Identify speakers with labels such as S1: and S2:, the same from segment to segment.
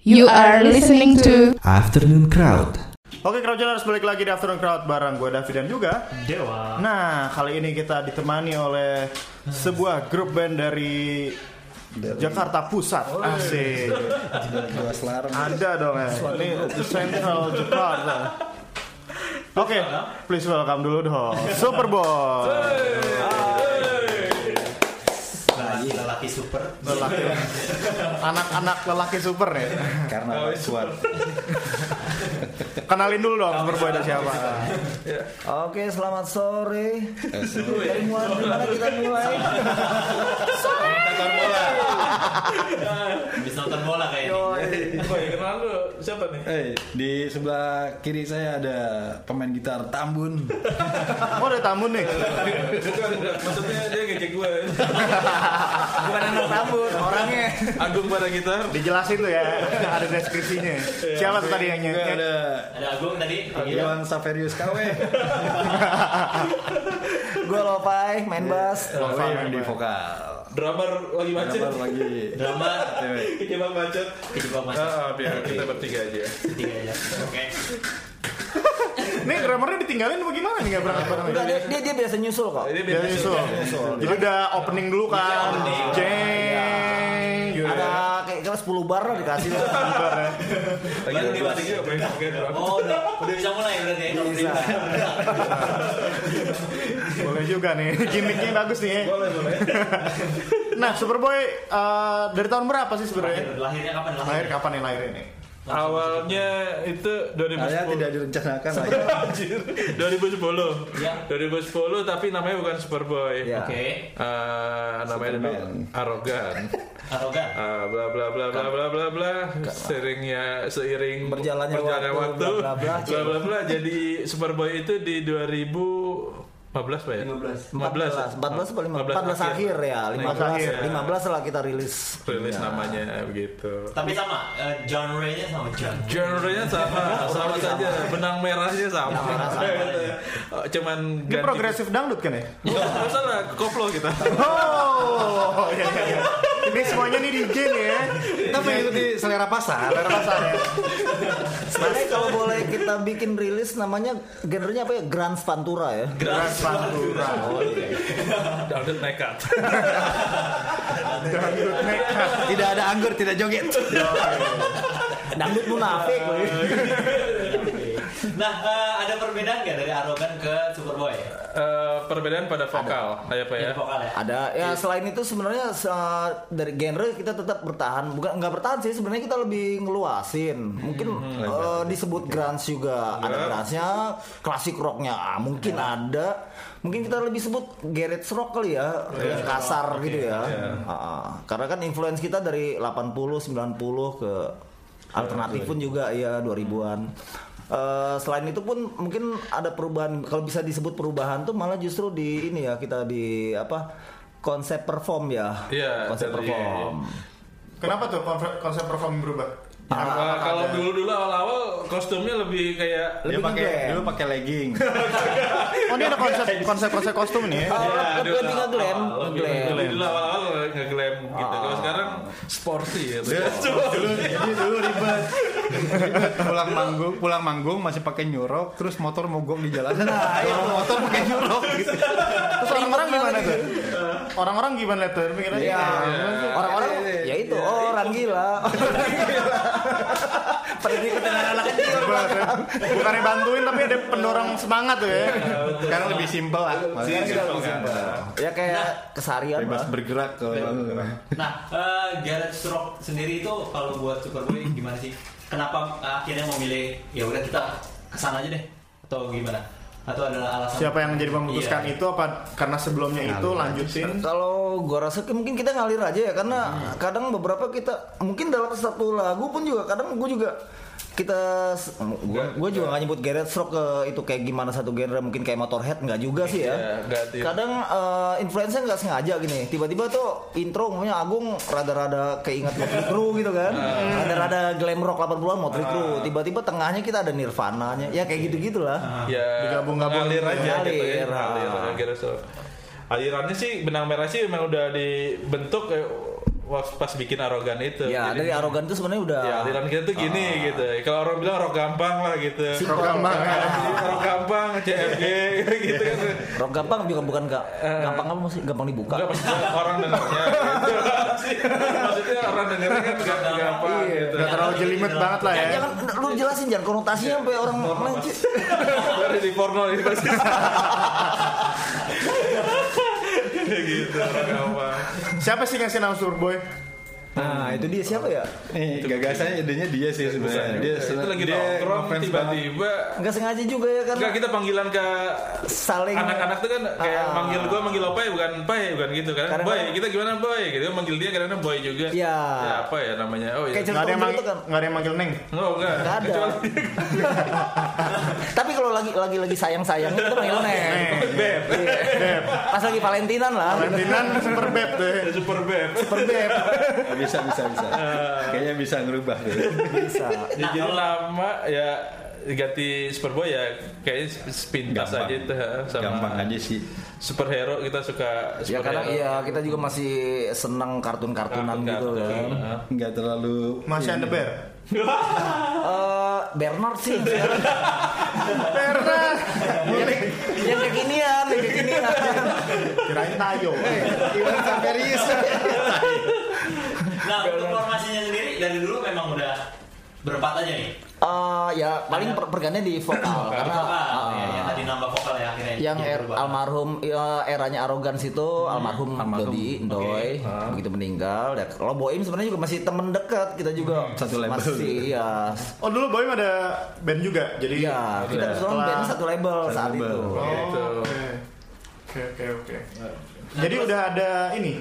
S1: You are listening to
S2: Afternoon Crowd.
S3: Oke, Crowdjournal harus balik lagi di Afternoon Crowd bareng gue David dan juga
S4: Dewa.
S3: Nah, kali ini kita ditemani oleh sebuah grup band dari Jakarta Pusat. Asik.
S5: Dua selar.
S3: Ada dong ya. Ini The Central Jakarta. Oke, please welcome dulu dong. Superboy.
S4: Lelaki, lelaki super.
S3: Lelaki. Anak-anak lelaki super nih.
S6: Oh,
S5: Karena kuat.
S3: Kenalin dulu dong Superboy dari siapa.
S5: Oke, selamat sore.
S6: ya? Oh,
S5: Dari mulai dari mana kita mulai?
S4: Nonton bola. Bisa nonton bola kayaknya.
S6: iya. Oh,
S5: Eh, di sebelah kiri saya ada pemain gitar Tambun.
S3: Oh, ada tamu nih.
S5: Bukan anak Tambun, orangnya.
S6: Agung pada gitar
S3: Dijelasin tuh ya. Ada deskripsinya. Siapa tuh tadi yang
S5: Juga
S3: nyanyi?
S5: ada
S4: Ada Agung tadi.
S5: Iwan Iya. Saverius KW.
S7: gue lopai main bass
S5: Oh, yang di vokal.
S6: drummer lagi macet
S5: Gambar lagi.
S4: Drama.
S6: kejebak macet
S4: Kejebak mas.
S6: ah biar kita bertiga aja
S4: Tiga aja. Oke.
S3: Nih grammarnya ditinggalin apa gimana nih nggak berangkat bareng
S7: Enggak, dia, dia dia biasa nyusul kok
S6: ini
S3: Jadi
S6: beda
S3: nyusul. Jadi udah opening dulu kan. Jeng. gitu.
S7: ada kayak kira 10 bar lah dikasih
S3: Bentar ya.
S6: lagi di mana juga main pakai drum
S4: Oh udah, udah bisa mulai berarti ya.
S7: Bisa.
S3: Boleh juga nih. Gimiknya bagus nih. ya.
S6: boleh boleh
S3: Nah, Superboy eh, dari tahun berapa sih
S4: Lahir,
S3: sebenarnya?
S4: lahirnya kapan?
S3: Lahir kapan nih lahir ini?
S6: awalnya itu
S5: Saya
S6: 2010
S5: tidak direncanakan lagi.
S6: Anjir. 2010
S4: Ya.
S6: 2010 tapi namanya bukan Superboy
S5: Ya.
S4: Oke.
S6: Eh, namanya lebih
S5: Superman.
S6: arogan
S4: Arogan.
S6: Ah, bla bla bla bla bla bla bla seringnya seiring
S7: Berjalannya waktu,
S6: waktu
S7: bla, bla, bla.
S6: bla bla bla jadi Superboy itu di 2015 Pak ya? 15
S7: 14 14 paling 14 akhir ya 15 15 lah kita rilis
S6: rilis namanya begitu.
S4: Tapi sama, eh, genre-nya sama genre.
S6: Genre-nya sama, sama saja. Benang merahnya sama.
S7: Iya. merah sama. iya.
S6: Eh, Cuman
S3: Ini progresif dangdut kan ya?
S6: Ya, nggak salah, koplo kita.
S3: Oh, iya iya iya. Ini semuanya nih di gen ya.
S5: Kita
S7: Iya,
S5: mengikuti selera pasar.
S3: Selera pasar ya.
S7: sebenarnya kalau boleh kita bikin rilis namanya genrenya apa ya Grand Spantura ya
S3: Geras pantura. iya.
S6: Dangdut nekat.
S3: Dangdut nekat.
S5: Tidak ada anggur, tidak joget.
S7: Iya, dangdut munafik woy.
S4: Nah, eh, ada perbedaan nggak dari arogan ke Superboy?
S6: Eh, perbedaan pada vokal, ya Pak ya.
S7: Iya,
S4: Dari vokal ya.
S7: ada ya selain itu sebenarnya eh, dari genre kita tetap bertahan bukan nggak bertahan sih sebenarnya kita lebih ngeluasin mungkin eh, disebut grunge juga ada grunge-nya klasik rocknya ah, mungkin ada mungkin kita lebih sebut garage rock kali ya yang kasar gitu ya Ah, ah. karena kan influence kita dari 80 90 ke alternatif pun juga ya 2000-an Eh, selain itu pun mungkin ada perubahan kalau bisa disebut perubahan tuh malah justru di ini ya kita di apa konsep perform ya
S6: Iya,
S7: konsep
S6: dari-
S7: perform
S3: Kenapa tuh konver- konsep perform berubah?
S7: Ah,
S6: Nah, kalau dulu-dulu awal-awal kostumnya lebih kayak
S5: Dia
S7: Lebih
S5: pakai
S7: ngeblend.
S5: dulu pakai legging.
S3: Oh, ini ada konsep konsep konsep kostum nih ya.
S6: Iya,
S7: lebih
S6: dulu-
S7: ngeglam,
S6: awal- lebih
S7: ngeglam. Ah.
S6: ngeglam. Dulu awal-awal ngeglam gitu. Kalau sekarang sporty ya. Sporty.
S5: Iya, dulu ribet. Ribet. pulang manggung pulang manggung masih pakai nyurok terus motor mogok di jalanan nah,
S3: iya.
S5: motor pakai nyurok gitu.
S3: Terus orang-orang gimana tuh? Orang-orang gimana tuh? Mikirnya
S5: Iya.
S6: Iya.
S7: ya orang-orang ya itu oh orang gila
S6: Iya.
S7: pergi ke tengah anak kecil
S3: Bukan- Bukannya bantuin tapi ada pendorong semangat tuh ya.
S5: sekarang lebih simpel
S3: ah.
S5: lah Maksudnya
S7: Simpel, simpel.
S6: Iya.
S7: ya
S6: Nah.
S7: kayak kesarian
S5: bebas
S7: lah.
S5: bergerak kalau
S7: Iya.
S4: Nah, eh, garage rock sendiri itu kalau buat Superboy gimana sih? Kenapa eh, akhirnya memilih ya udah kita kesana aja deh atau gimana? Atau ada alasan?
S3: Siapa yang jadi memutuskan
S4: Iya.
S3: itu apa karena sebelumnya itu
S7: Iya.
S3: lanjutin?
S7: Kalau gua rasa ke- mungkin kita ngalir aja ya karena kadang beberapa kita mungkin dalam satu lagu pun juga kadang gua juga kita s- gua, gua juga nggak nyebut garage rock ke itu kayak gimana satu genre mungkin kayak motorhead nggak juga sih ya.
S6: Iya, nggak, iya.
S7: Kadang eh, influence-nya nggak sengaja gini. Tiba-tiba tuh intro umumnya Agung rada-rada keinget Motley Crue gitu kan.
S6: Ah.
S7: Rada-rada glam rock 80-an Motley Crue. Tiba-tiba tengahnya kita ada Nirvana-nya. Ya kayak gitu-gitulah.
S6: ya
S3: Digabung-gabung.
S6: ngalir aja gitu
S7: Ngalir,
S6: ya
S7: ah.
S6: ngalir akhirnya so. alirannya sih benang merah sih memang udah dibentuk eh, wak- pas bikin arogan
S7: Ya,
S6: itu. Iya, Jadi-
S7: dari Ah. arogan itu sebenarnya udah
S6: Ya, aliran kita tuh gini gitu. Kalau orang bilang rok gampang lah gitu.
S7: Simple.
S3: Rock gampang.
S7: Iya.
S6: Rok gampang, CFG gitu kan.
S7: Rock gampang juga bukan gak gampang apa masih gampang dibuka.
S6: Enggak maksudnya orang dengarnya gitu. maksudnya orang dengarnya kan enggak gampang gitu.
S3: Gak terlalu jelimet banget lah ya.
S7: Iya. Jangan lu jelasin jangan konotasinya sampai orang melencet.
S6: Dari di porno ini pasti. gitu, rok gampang.
S3: Siapa sih ngasih nama Surboy?
S7: Nah, itu dia siapa ya?
S5: Eh, gagasannya idenya dia sih sebenarnya. Dia
S6: Itu lagi
S5: dia
S6: nongkrong
S5: ngefans banget.
S6: tiba-tiba
S7: Enggak sengaja juga ya karena
S6: Enggak kita panggilan ke
S7: saling
S6: anak-anak tuh kan kayak
S7: Ah.
S6: manggil gua manggil opai bukan pai bukan gitu kan.
S7: Kadang-kadang-
S6: Boy, kita gimana boy? Gitu manggil dia kadang-kadang boy juga.
S7: Iya.
S6: Ya, apa ya namanya? Oh
S7: Kayak
S6: iya.
S3: Gak ada yang
S7: Contoh
S3: manggil,
S7: gitu kan.
S3: nggak ada yang manggil Neng.
S6: Enggak, enggak.
S7: Nggak ada.
S6: Kecuali
S7: Tapi kalau lagi lagi lagi sayang-sayang kita panggil Neng.
S3: Neng.
S6: Beb.
S3: Beb.
S7: Pas lagi Valentinan lah.
S3: Valentinan super beb tuh.
S7: Eh,
S3: ya.
S6: Super Beb.
S3: Super beb.
S5: Ah, Bisa bisa bisa.
S7: Eh.
S5: Kayaknya bisa ngerubah deh.
S7: Bisa.
S6: Ya, jadi lama ya ganti Superboy ya kayaknya sepintas
S5: Gampang.
S6: aja itu ha, sama
S5: Gampang aja sih.
S6: superhero kita suka
S7: Ya
S6: superhero.
S7: kadang iya kita juga masih seneng kartun-kartunan gitu
S6: Kartun-kartun.
S7: kan.
S6: Heeh.
S5: Enggak terlalu
S3: Masih
S5: ini.
S3: ada bear.
S7: Eh Bernard sih
S3: Bernard.
S7: yang, yang kekinian, yang kekinian.
S3: Kirain Tayo.
S5: Iwan Samperis.
S4: Nah untuk formasinya sendiri dari dulu memang udah berempat aja nih.
S7: Eh, ya paling per pergantiannya di vokal karena
S4: Vokal,
S7: eh,
S4: ya, ya, tadi nambah vokal ya akhirnya.
S7: yang
S4: Jadi
S7: er-
S4: berubah.
S7: almarhum ya, eranya arogan situ Hmm, almarhum, Ah. Dodi Doi begitu meninggal ya kalau Boim sebenarnya juga masih temen dekat kita juga
S5: satu label.
S7: masih ya
S3: Oh dulu Boy ada band juga. Jadi
S7: Iya, kita kebetulan
S3: Setelah-
S7: band satu label saat
S5: label.
S7: itu.
S3: Oh,
S6: Gitu.
S3: oke. Oke oke oke.
S4: Nah,
S3: Jadi
S4: terus-
S3: udah ada ini.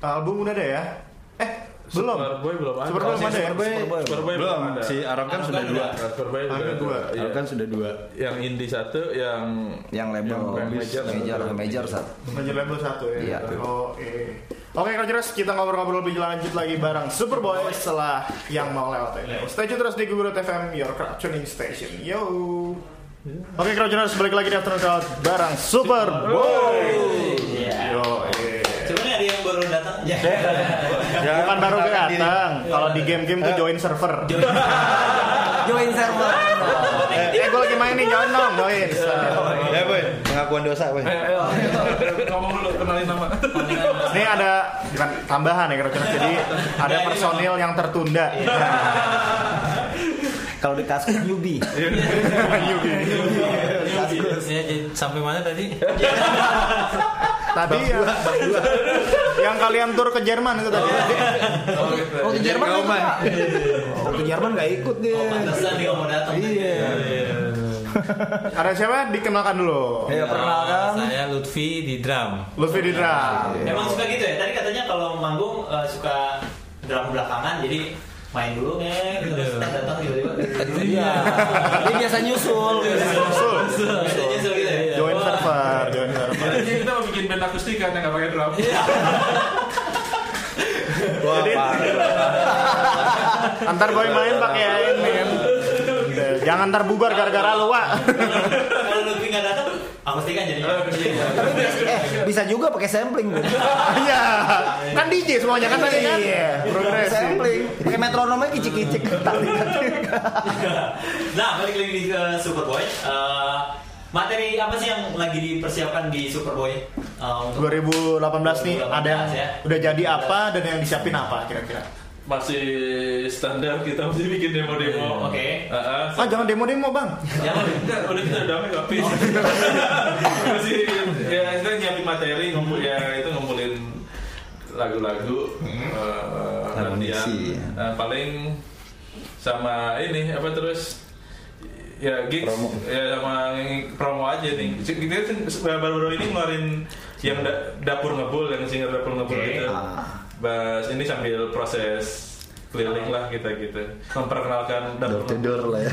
S3: Album udah ada ya? Eh, belum.
S6: Superboy belum ada.
S3: Superboy belum ada ya?
S5: Superboy,
S7: Superboy.
S6: Superboy belum
S5: belum.
S6: ada.
S5: Si Arab kan
S4: Arab
S5: sudah
S4: kan
S5: dua.
S4: udah.
S6: Superboy
S3: Ada
S6: udah
S3: dua.
S6: ada. Iya.
S5: Arab kan sudah dua.
S6: Yang indie satu, yang
S7: Yang label
S6: Yang major.
S7: Iya, major major saat.
S3: Major label satu ya.
S7: Iya.
S3: Oh, iya. Oke, Crouchers, kita ngobrol-ngobrol lebih lanjut lagi bareng Superboy setelah yang mau lewat ini. Stay tune terus di Gugurut FM, your crowd tuning station. Yo. Oke, Crouchers, balik lagi di Afternoon Crowd bareng Superboy.
S4: Iya.
S3: Yo, iya.
S4: Cuman ada yang baru datang. Ya.
S3: Bukan baru
S7: kan
S5: perkenalkan diri.
S3: datang. Kalau di game-game tuh join server.
S7: Join server.
S3: Eh, eh gue lagi main nih, join dong, join.
S5: Ya boy, pengakuan dosa boy.
S6: Ayo, ngomong dulu kenalin nama.
S3: Ini ada bukan tambahan ya Crouchers. Jadi ada personil yang tertunda.
S7: Kalau di kasus newbie.
S2: Ya, jadi sampai mana tadi?
S3: Tadi ya, yang kalian tur ke Jerman itu tadi.
S6: Oh, gitu.
S7: Waktu Jerman
S5: Jerman.
S7: nggak ikut. Waktu Jerman nggak ikut dia.
S4: Pantesan dia mau datang.
S7: Iya.
S3: Ada siapa? Dikenalkan dulu.
S7: Ya
S2: Eh,
S7: perkenalkan.
S2: Saya Lutfi di drum.
S3: Lutfi Didra.
S4: Emang suka gitu ya? Tadi katanya kalau manggung eh, suka drum belakangan, jadi main dulu nih, terus kan datang tiba-tiba.
S7: Iya. Dia biasa nyusul.
S4: Biasa
S2: Iya.
S4: nyusul gitu ya.
S3: Join
S4: Iya. Wah.
S3: server, join server.
S6: Jadi Kan kita mau bikin band akustik kan yang nggak pakai drum.
S5: Wah, parah.
S3: Antar boy main pakai air men. Udah, Jangan terbubar gara-gara lu, Wak.
S4: Kalau Lutfi nggak datang, akustikan jadi.
S2: Oh, iya.
S7: Eh, bisa juga pakai sampling. Bu.
S3: Iya. Kan DJ semuanya kan tadi kan? Iya.
S7: Pakai
S3: Progres.
S7: sampling. Pakai metronomnya kicik-kicik. Tarik-tarik.
S4: Nah, balik lagi di ke Superboy. Eh, materi apa sih yang lagi dipersiapkan di Superboy? Eh, untuk
S3: 2018 nih ada yang udah jadi apa dan yang disiapin apa kira-kira?
S6: Masih standar kita masih bikin demo-demo.
S4: Oke.
S6: Ah, ah.
S3: Ah jangan demo-demo bang.
S4: Jangan.
S6: Enggak, udah kita udah damai nggak habis. Masih ya kita nyiapin materi ngumpul ya itu ngumpulin lagu-lagu eh, latihan.
S5: Amunisi.
S6: Nah, paling sama ini apa terus ya gigs
S5: Promo.
S6: ya sama yang promo aja nih kita kan baru-baru ini ngeluarin yang da- dapur ngebul yang single dapur ngebul
S4: Oke.
S6: gitu bahas ini sambil proses keliling lah kita gitu memperkenalkan
S5: Door
S6: dapur
S5: to
S6: ngebul
S5: door lah ya.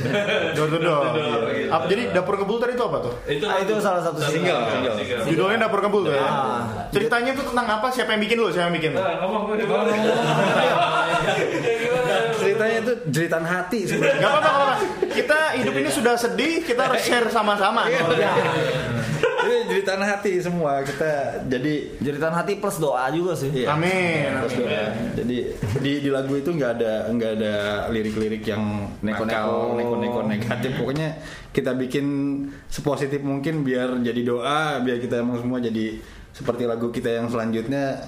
S3: Door to door.
S6: Door to door,
S3: Iya.
S6: gitu.
S3: Apa, Jadi dapur ngebul tadi itu apa tuh?
S6: itu,
S7: Ah, itu salah satu single.
S5: Single.
S3: Judulnya dapur ngebul tuh ya.
S7: Ah.
S3: Ceritanya tuh tentang apa? Siapa yang bikin lu? Siapa yang bikin? lu?
S5: Iya.
S6: Ah, ngomong gue gimana?
S5: Ceritanya itu jeritan hati sebenarnya.
S3: Gak apa-apa,
S5: Iya.
S3: gak apa-apa. Kita hidup ini sudah sedih, kita harus share sama-sama.
S5: Ini jeritan hati semua kita jadi
S7: Jeritan hati plus doa juga sih.
S5: Iya.
S3: Amin.
S5: Terus doa. Jadi di di lagu itu nggak ada nggak Eh, ada lirik-lirik yang
S7: Neko-neko.
S5: nakal, neko-neko negatif. Pokoknya kita bikin sepositif mungkin biar jadi doa, biar kita emang semua jadi seperti lagu kita yang selanjutnya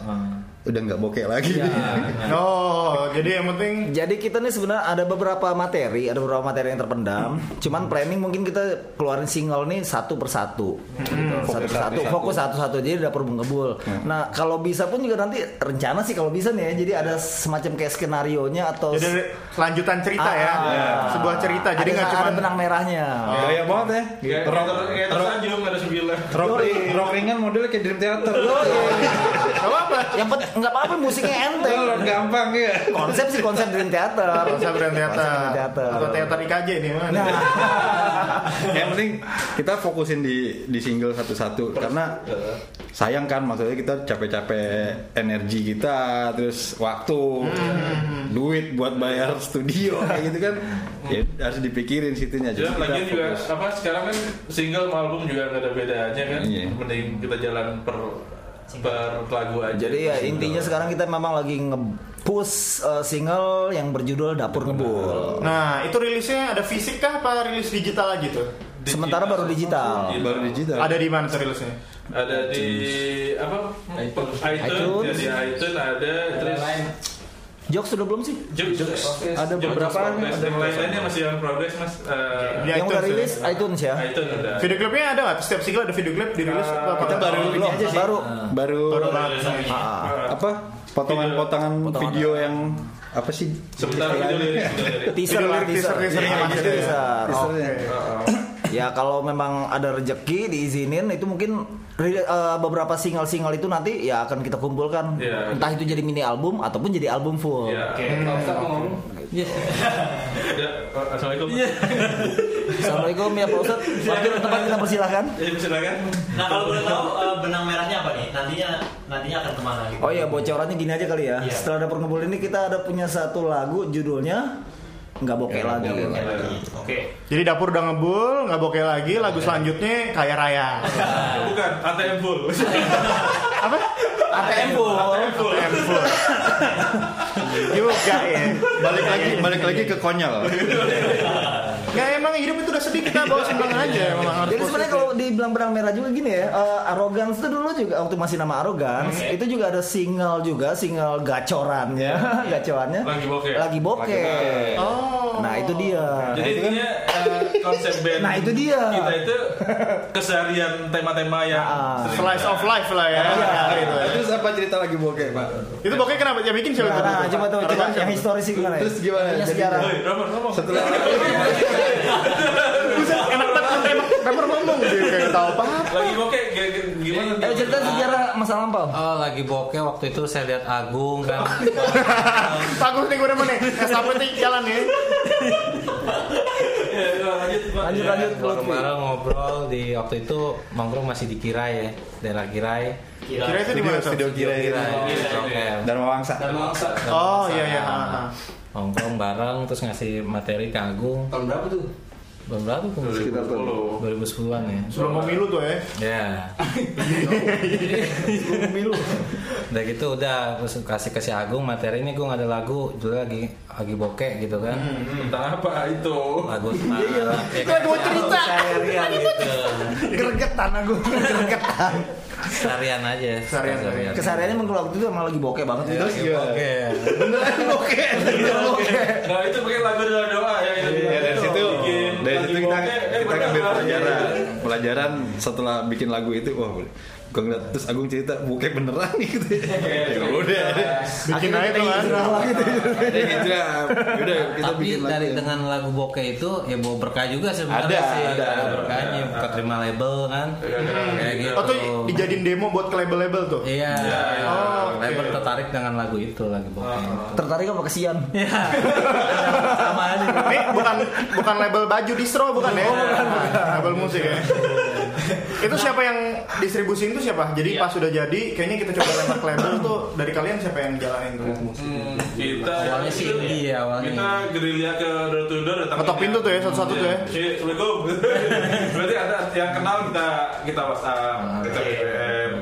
S5: udah nggak bokeh lagi.
S3: Iya. Oh, jadi yang penting
S7: Jadi kita nih sebenarnya ada beberapa materi, ada beberapa materi yang terpendam. Cuman planning mungkin kita keluarin single nih satu persatu,
S3: Hmm,
S7: gitu. satu persatu,
S5: satu-satu.
S7: fokus satu-satu jadi dapur mengebul. Nah kalau bisa pun juga nanti rencana sih kalau bisa nih ya. Jadi ada semacam kayak skenario nya atau Ah,
S3: jadi lanjutan cerita ya.
S5: Ah.
S3: Sebuah cerita. Jadi
S7: Iya. Ada-
S3: nggak Oh.
S7: ada
S3: cuma
S7: benang merahnya.
S5: Gaya banget ya.
S6: Kayak
S5: Rock,
S6: kayak
S5: rock,
S6: tersanjung ada sembilan.
S5: rock, rock ringan modelnya kayak Dream Theater.
S3: Gak apa.
S7: Yang penting nggak apa-apa musiknya enteng.
S5: Rock gampang ya.
S7: Konsep sih konsep Dream Theater.
S3: iya. Konsep dan teater.
S7: Konsep dan teater. Nah.
S3: Atau teater IKJ nih mana?
S5: Ya, yang penting kita fokusin di di single satu-satu karena sayang kan maksudnya kita capek-capek energi kita terus waktu duit buat bayar studio kayak gitu kan ya harus dipikirin situnya
S6: Ya,
S5: jadi
S6: lagian
S5: kita
S6: juga
S5: fokus.
S6: apa sekarang kan single sama album juga nggak ada bedanya kan.
S5: Iya.
S6: Mending kita jalan per per lagu aja.
S7: Jadi ya intinya sekarang kita memang lagi nge-push uh, single yang berjudul Dapur Ngebul.
S3: Nah, itu rilisnya ada fisik kah apa rilis digital aja tuh?
S7: Sementara baru digital.
S5: baru
S7: Iya.
S5: digital
S3: Ada di mana tuh rilisnya?
S6: ada di apa iTunes,
S7: iTunes.
S6: jadi iTunes ada terus
S7: Jokes sudah belum sih?
S6: Jokes,
S5: ada beberapa
S6: progress. yang lain-lainnya masih yang progress mas
S3: Di
S6: Eh,
S7: yang udah
S3: iTunes ya?
S7: rilis Iya. iTunes ya.
S6: iTunes ada
S3: Video klipnya ada nggak? Setiap single ada video klip dirilis atau apa?
S5: Nah. kita baru ini
S7: Belum,
S5: aja sih Nah.
S7: baru.
S5: baru
S3: Baru banget.
S7: Ah,
S5: apa potongan-potongan video yang apa sih
S6: sebentar
S5: Iya.
S6: video lirik video lirik.
S7: teaser
S3: Video
S7: lah,
S3: lirik,
S7: teaser.
S3: teaser-teasernya
S7: Iya,
S3: masih ada ya?
S7: teaser. Oh.
S5: Teasernya.
S7: Ya kalau memang ada rejeki diizinin itu mungkin ri- eh, beberapa single-single itu nanti ya akan kita kumpulkan.
S6: Iya.
S7: Entah itu jadi mini album ataupun jadi album full. Iya.
S6: Ya. Ya, eh, assalamualaikum
S7: Assalamualaikum ya Pak Ustadz. Waktu dan tempat kita persilahkan.
S6: ya silakan
S4: Nah kalau boleh tahu eh, benang merahnya apa nih? Nantinya nantinya akan kemana gitu?
S7: Oh iya bocorannya gini aja kali ya.
S4: Iya.
S7: Setelah dapur ngebul ini kita ada punya satu lagu judulnya nggak bokeh lagi.
S4: Oke.
S3: Jadi dapur udah ngebul, nggak bokeh lagi. Lagu
S7: Iya.
S3: selanjutnya kaya raya.
S6: bukan ATM
S5: Nah,
S6: full
S3: apa?
S7: ATM full.
S3: ATM full. Juga ya.
S5: balik lagi balik lagi ke konyol
S3: Nggak Ya, emang hidup itu udah sedih kita bawa senang aja. Emang
S7: Iya.
S3: harus
S7: Jadi sebenarnya kalau
S3: positif.
S7: dibilang benang merah juga gini ya, eh, arrogance itu dulu juga waktu masih nama arrogance itu juga ada single juga, single gacorannya, gacorannya.
S6: Lagi bokeh.
S7: Lagi bokeh.
S3: Oh.
S7: Nah itu dia.
S6: jadi
S5: kan-
S6: intinya eh, konsep band
S7: Nah, itu dia.
S6: kita itu keseharian tema-tema yang
S7: Ah.
S6: sering-
S3: Slice of life lah ya.
S7: Iya.
S3: Nah, gitu ya.
S5: terus apa cerita lagi bokeh pak
S3: Itu pokoknya kenapa? Ya bikin siapa?
S7: Nah, nah, coba tuh, coba yang historis sih gimana ya?
S5: Terus gimana?
S7: Punya
S5: Jadi-
S7: sejarah.
S6: Woi, Roman, ngomong.
S3: Enak banget kan Temer- Temer ngomong dia kayak tahu apa.
S6: lagi bokeh g- g- gimana
S7: Eh cerita sejarah masa lampau.
S2: Oh, lagi bokeh waktu itu saya lihat Agung kan.
S3: Takut nih gue demen nih. SAP nih jalan ya. nih.
S6: Ya, lanjut Pak.
S7: Lanjut
S6: Ya.
S7: lanjut Lutfi.
S2: Iya, Bareng-bareng ngobrol di waktu itu nongkrong masih di Kirai ya, daerah Kirai.
S7: Iya,
S3: Kira itu di mana tuh?
S5: video kira
S7: ya.
S2: Nongkrong.
S5: Dharma Wangsa
S4: Dan mangsa.
S3: Oh iya iya. ah, ah.
S2: Nongkrong bareng terus ngasih materi ke Agung.
S4: Tahun berapa tuh?
S2: Tahun Berapa tuh?
S6: 2010.
S2: 2010-an ya.
S3: Sebelum pemilu tuh ya.
S2: Ya. Udah gitu udah terus kasih kasih Agung materi ini gue nggak ada lagu dulu lagi lagi bokeh gitu kan.
S6: Entah Hmm, apa itu.
S2: Lagu tentang ya kan,
S7: Gue Iya, cerita.
S2: gitu.
S7: Gergetan aku. Gergetan.
S2: seharian aja. Iya,
S3: Seharian, seharian.
S7: Kesehariannya emang kalau waktu itu emang lagi bokeh banget. gitu. Iya. Terus
S2: Lagi bokeh.
S7: beneran bokeh. Beneran bokeh.
S6: Nah itu pakai lagu doa doa ya. itu.
S5: Ya dari situ,
S6: Bikin
S5: dari
S6: lagi
S5: situ kita
S6: bokeh, eh,
S5: kita
S6: bener,
S5: ngambil
S6: ah,
S5: pelajaran,
S6: gitu.
S5: pelajaran setelah bikin lagu itu, wah boleh. Gue ngeliat terus Agung cerita bokeh beneran nih gitu. Ya udah,
S3: Bikin
S7: Akhirnya
S3: aja
S7: kita
S3: tuh kan.
S7: hijrah lah gitu.
S5: ada yang hijrah. iya. Udah kita
S2: Tapi
S5: bikin
S2: dari
S5: lagu.
S2: dengan lagu bokeh itu ya bawa berkah juga sebenarnya
S5: Ada,
S2: sih.
S5: ada.
S2: berkahnya buka terima label kan.
S6: iya.
S2: Kayak gitu.
S3: Oh tuh dijadiin demo buat ke label-label tuh.
S2: Iya. Ah,
S3: Oh, oke.
S2: label tertarik dengan lagu itu lagi bokeh.
S7: Tertarik apa kesian?
S2: Iya. Sama aja.
S3: Ini bukan bukan label baju distro bukan Ah, ya? Label musik ya. Itu siapa yang distribusin itu siapa? Jadi pas sudah jadi, kayaknya kita coba lempar ke label tuh dari kalian siapa yang jalanin tuh?
S6: Hmm, kita
S2: Iya, Awalnya sih
S6: itu-
S2: indie ya, awalnya.
S6: Kita gerilya ke door to door datang.
S3: Ketok pintu tuh ya, satu-satu tuh ya.
S6: Iya, Assalamualaikum. Berarti ada yang kenal kita kita WhatsApp,
S2: Ah,
S6: kita
S2: iya,
S4: oke.
S6: BBM.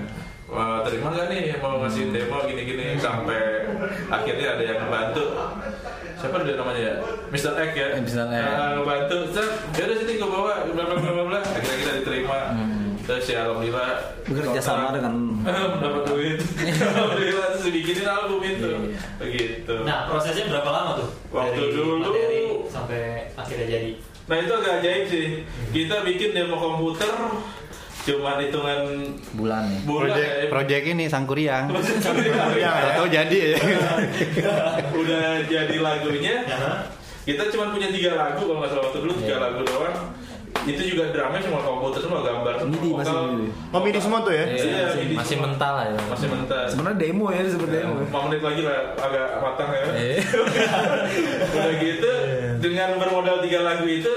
S6: Wah, terima nggak nih mau ngasih demo gini-gini sampai akhirnya ada yang membantu. Siapa dia namanya ya? Mr. X ya?
S2: Eh, Mr. X.
S6: Nah, ngebantu. Set, ya udah sini gue bawa bla bla bla bla bla. Akhirnya kita diterima.
S2: Hmm.
S6: Terus ya alhamdulillah
S7: Bekerja sama
S6: kontrak.
S7: dengan
S6: dapat duit. alhamdulillah terus dibikinin album itu.
S2: Iya,
S6: Begitu.
S4: Nah, prosesnya berapa lama tuh?
S6: Waktu
S4: Dari
S6: dulu-
S4: materi sampai akhirnya jadi.
S6: Nah itu agak ajaib sih. Kita bikin demo komputer cuman hitungan
S2: bulan nih.
S6: bulan
S5: Project,
S6: ya.
S5: project ini Sangkuriang.
S3: Iya, ya.
S5: Tahu jadi ya.
S6: Udah jadi lagunya.
S2: Iya.
S6: Kita cuman punya tiga lagu kalau nggak salah waktu dulu tiga lagu doang. Itu juga drumnya semua komputer semua gambar semua.
S7: Midi, masih midi.
S3: Oh, midi semua tuh ya?
S6: Iya,
S2: Iya, masih,
S6: jadi-
S2: masih mental lah ya.
S6: Masih mentah.
S7: Sebenarnya demo ya disebut demo.
S6: Lima menit lagi lah agak matang ya.
S2: Eh,
S6: Udah gitu dengan bermodal tiga lagu itu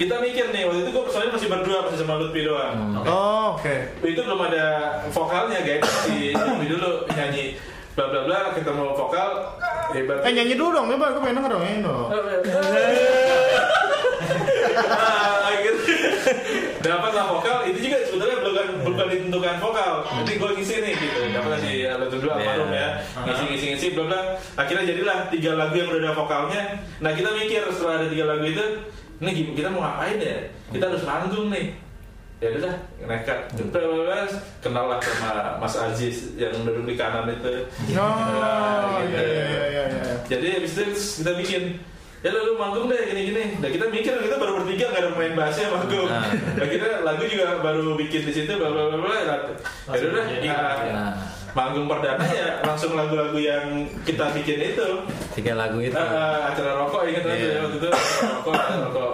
S6: kita mikir nih waktu itu gue soalnya masih berdua masih sama Lutfi doang.
S3: Oh, oke.
S6: itu belum ada vokalnya guys si Jambi dulu nyanyi bla bla bla ketemu vokal hebat
S3: Eh nyanyi dulu dong, coba aku pengen denger dong, nyanyi dong.
S6: Nah, gitu. dapat lah vokal itu juga sebenarnya bukan bukan ditentukan vokal tapi gue ngisi nih gitu dapat si Aldo dulu almarhum ya ngisi ngisi ngisi bla bla akhirnya jadilah tiga lagu yang udah ada vokalnya nah kita mikir setelah ada tiga lagu itu ini gim- kita mau ngapain ya kita harus manggung nih ya udah nekat terus kenal lah sama Mas Aziz yang duduk di kanan itu
S3: No,
S6: Nah, gitu.
S3: iya iya iya iya.
S6: Jadi habis itu kita bikin ya lalu manggung deh gini-gini. Nah kita mikir kita baru bertiga nggak ada pemain bassnya manggung. Nah. kita lagu juga baru bikin di situ bla bla bla bla. Ya udah,
S4: jadi.
S6: nah,
S2: nah,
S6: manggung perdana ya langsung lagu-lagu yang kita bikin itu.
S2: tiga lagu itu.
S6: Nah, eh, acara rokok ingat
S2: Gitu.
S6: lagi
S2: Iya.
S6: ya waktu itu acara rokok, acara rokok.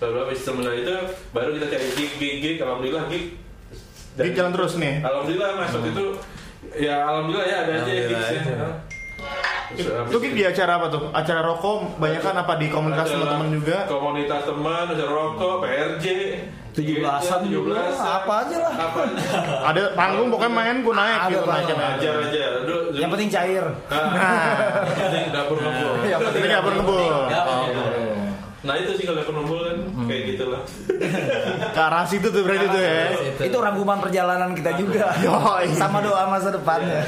S6: Baru habis setelah itu baru kita cari gig gig gig. Alhamdulillah gig.
S3: Jadi jalan terus nih.
S6: Alhamdulillah mas waktu itu ya alhamdulillah ya ada
S2: Hmm.
S6: aja
S2: Alhamdulillah
S6: gigsnya.
S2: itu.
S6: Terus habis
S3: Itu Kik, di acara apa tuh? Acara rokok, banyak kan apa di komunitas
S6: Ada
S3: teman-teman juga?
S6: Komunitas teman, ada rokok, PRJ
S7: 17-an,
S6: 17
S7: apa aja lah.
S6: Apa
S3: Ada panggung pokoknya main gue naik
S7: Ada
S3: gitu
S7: lah.
S3: naik naik.
S6: Ajar aja Aduh,
S7: Yang penting cair.
S6: Nah, penting dapur ngebul
S7: Yang
S3: Tapi nggak pernah ngebul.
S4: Enggak apa
S6: Nah itu sih kalau dapur ngebul kan Kayak gitu lah
S3: Ke arah situ tuh berarti tuh ya.
S2: Itu.
S7: Itu rangkuman Iya, perjalanan kita juga.
S3: Yoi.
S7: Sama doa masa depannya.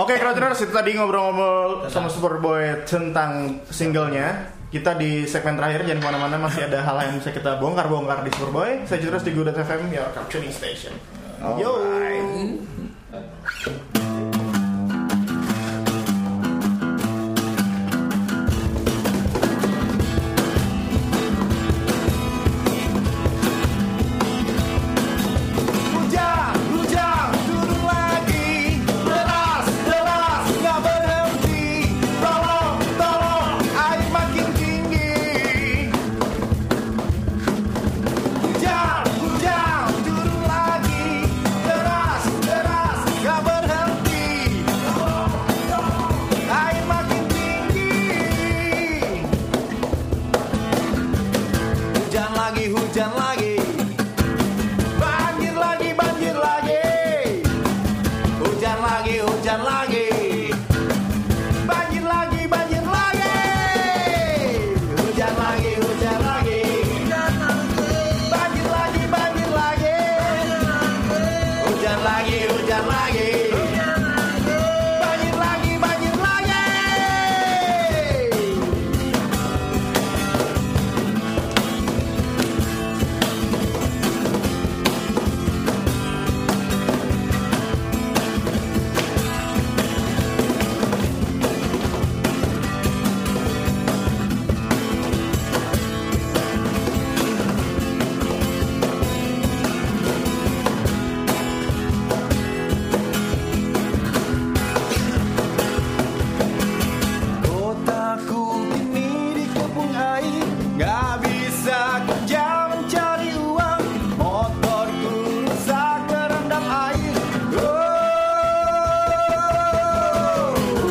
S3: Oke, Crowdrunners itu tadi ngobrol-ngobrol sama Superboy tentang singlenya. Kita di segmen terakhir jangan kemana-mana masih ada hal yang bisa kita bongkar-bongkar di Superboy. Saya terus di Good FM your captioning station. Yo.
S7: Hujan, hujan, turun lagi Deras, deras, nggak berhenti Tolong, tolong, air makin tinggi Hujan, hujan, turun lagi Deras, deras, nggak berhenti Tolong, tolong, air makin tinggi Hujan lagi, hujan lagi Banjir lagi, banjir lagi. Hujan lagi, hujan lagi. Banjir lagi, banjir lagi. Hujan lagi, hujan lagi. Banjir lagi, banjir lagi. Hujan lagi, hujan lagi. Banjir lagi, banjir lagi. Kotaku kini dikepung air Gak bisa kerja mencari uang Motorku rusak terendam air Oh,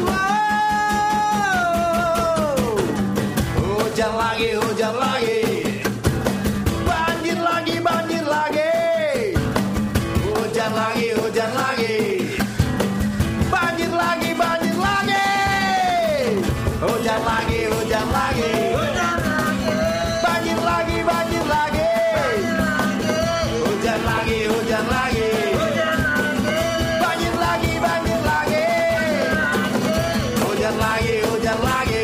S7: oh. Hujan lagi, hujan lagi Banjir lagi, banjir hujan lagi banjir lagi banjir lagi hujan lagi hujan lagi banjir lagi banjir lagi hujan lagi hujan lagi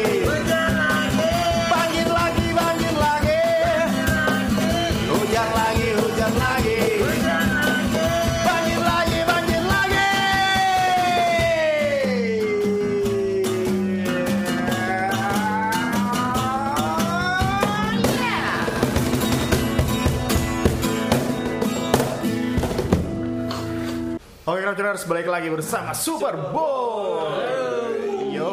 S7: banjir lagi banjir lagi hujan lagi hujan lagi banjir lagi banjir lagi
S3: Oke, Crowdtuners, balik lagi bersama Super Bowl. Yo.